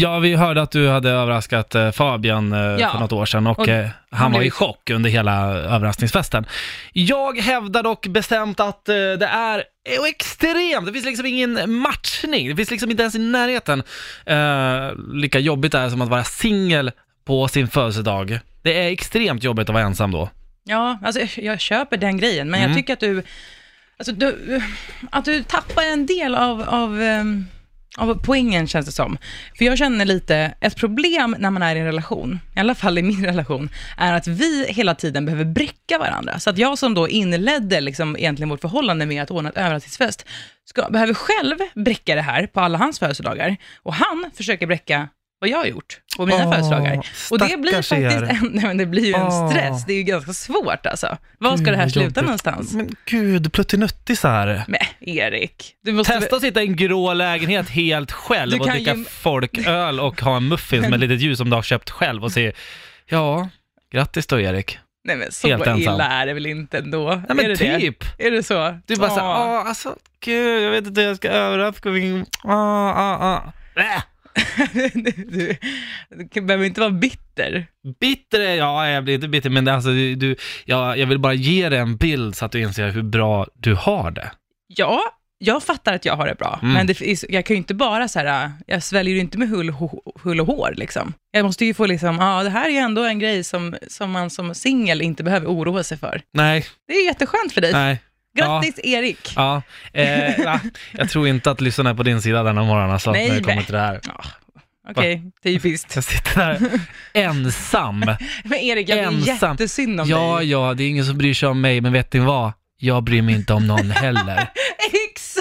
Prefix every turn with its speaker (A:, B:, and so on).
A: Ja, vi hörde att du hade överraskat eh, Fabian eh,
B: Ja.
A: för något år sedan och,
B: Och
A: eh, han
B: han
A: var
B: blev-
A: i chock under hela överraskningsfesten. Jag hävdar dock bestämt att eh, det är eh, extremt, det finns liksom ingen matchning, det finns liksom inte ens i närheten eh, lika jobbigt det är som att vara singel på sin födelsedag. Det är extremt jobbigt att vara ensam då.
B: Ja, alltså jag köper den grejen, men
A: Mm.
B: jag tycker att du, alltså du, att du tappar en del av, av, ehm, av poängen känns det som. För jag känner lite, ett problem när man är i en relation, i alla fall i min relation, är att vi hela tiden behöver bräcka varandra. Så att jag som då inledde liksom egentligen vårt förhållande med att ordna ett överraskningsfest, ska, behöver själv bräcka det här på alla hans födelsedagar. Och han försöker bräcka vad jag har gjort på mina
A: Åh,
B: födelsedagar. Och det blir
A: stackars er.
B: faktiskt en, nej, men det blir ju en
A: Åh.
B: stress. Det är ju ganska svårt alltså. Var ska
A: Gud,
B: det här
A: vad
B: sluta
A: Mm, jobbigt.
B: någonstans?
A: Men gud, pluttinuttisar.
B: Men Erik, du måste...
A: Testa att sitta i en grå lägenhet helt
B: Du
A: själv och
B: kan
A: dricka
B: ju-
A: folköl och ha en muffins med litet ljus som du har köpt själv och se, ja, grattis då Erik.
B: Nej men så
A: Helt ensam.
B: illa är det väl inte ändå?
A: Nej men
B: är det
A: typ.
B: det? Är det så? Ah.
A: Du bara såhär,
B: Åh.
A: ja alltså gud, jag vet inte hur jag ska överraska min, ah, ah, ah. Äh,
B: du, du behöver inte vara bitter.
A: bitter är jag, jag blir inte bitter men det, alltså du, du jag, jag vill bara ge dig en bild så att du inser hur bra du har det.
B: Ja, jag fattar att jag har det bra,
A: Mm.
B: men det, finns- jag kan ju inte bara så här, ah, jag sväljer ju inte med hull, ho- hull och hår liksom. Jag måste ju få liksom, ja det här är ju ändå en grej som, som man som singel inte behöver oroa sig för.
A: Nej,
B: Det är jätteskönt för dig.
A: nej,
B: Grattis Erik!
A: ja. Eh, va? jag tror inte att lyssnarna är på din sida denna morgon alltså,
B: Nej,
A: när det kommer
B: nej.
A: till det här.
B: Ja, Okej, typiskt.
A: Jag sitter där ensam.
B: Men Erik, jag blir
A: Ensam.
B: jättesynd om
A: Ja,
B: dig.
A: ja, det är ingen som bryr sig om mig, men vet ni vad? Jag bryr mig inte om någon heller.
B: Exakt!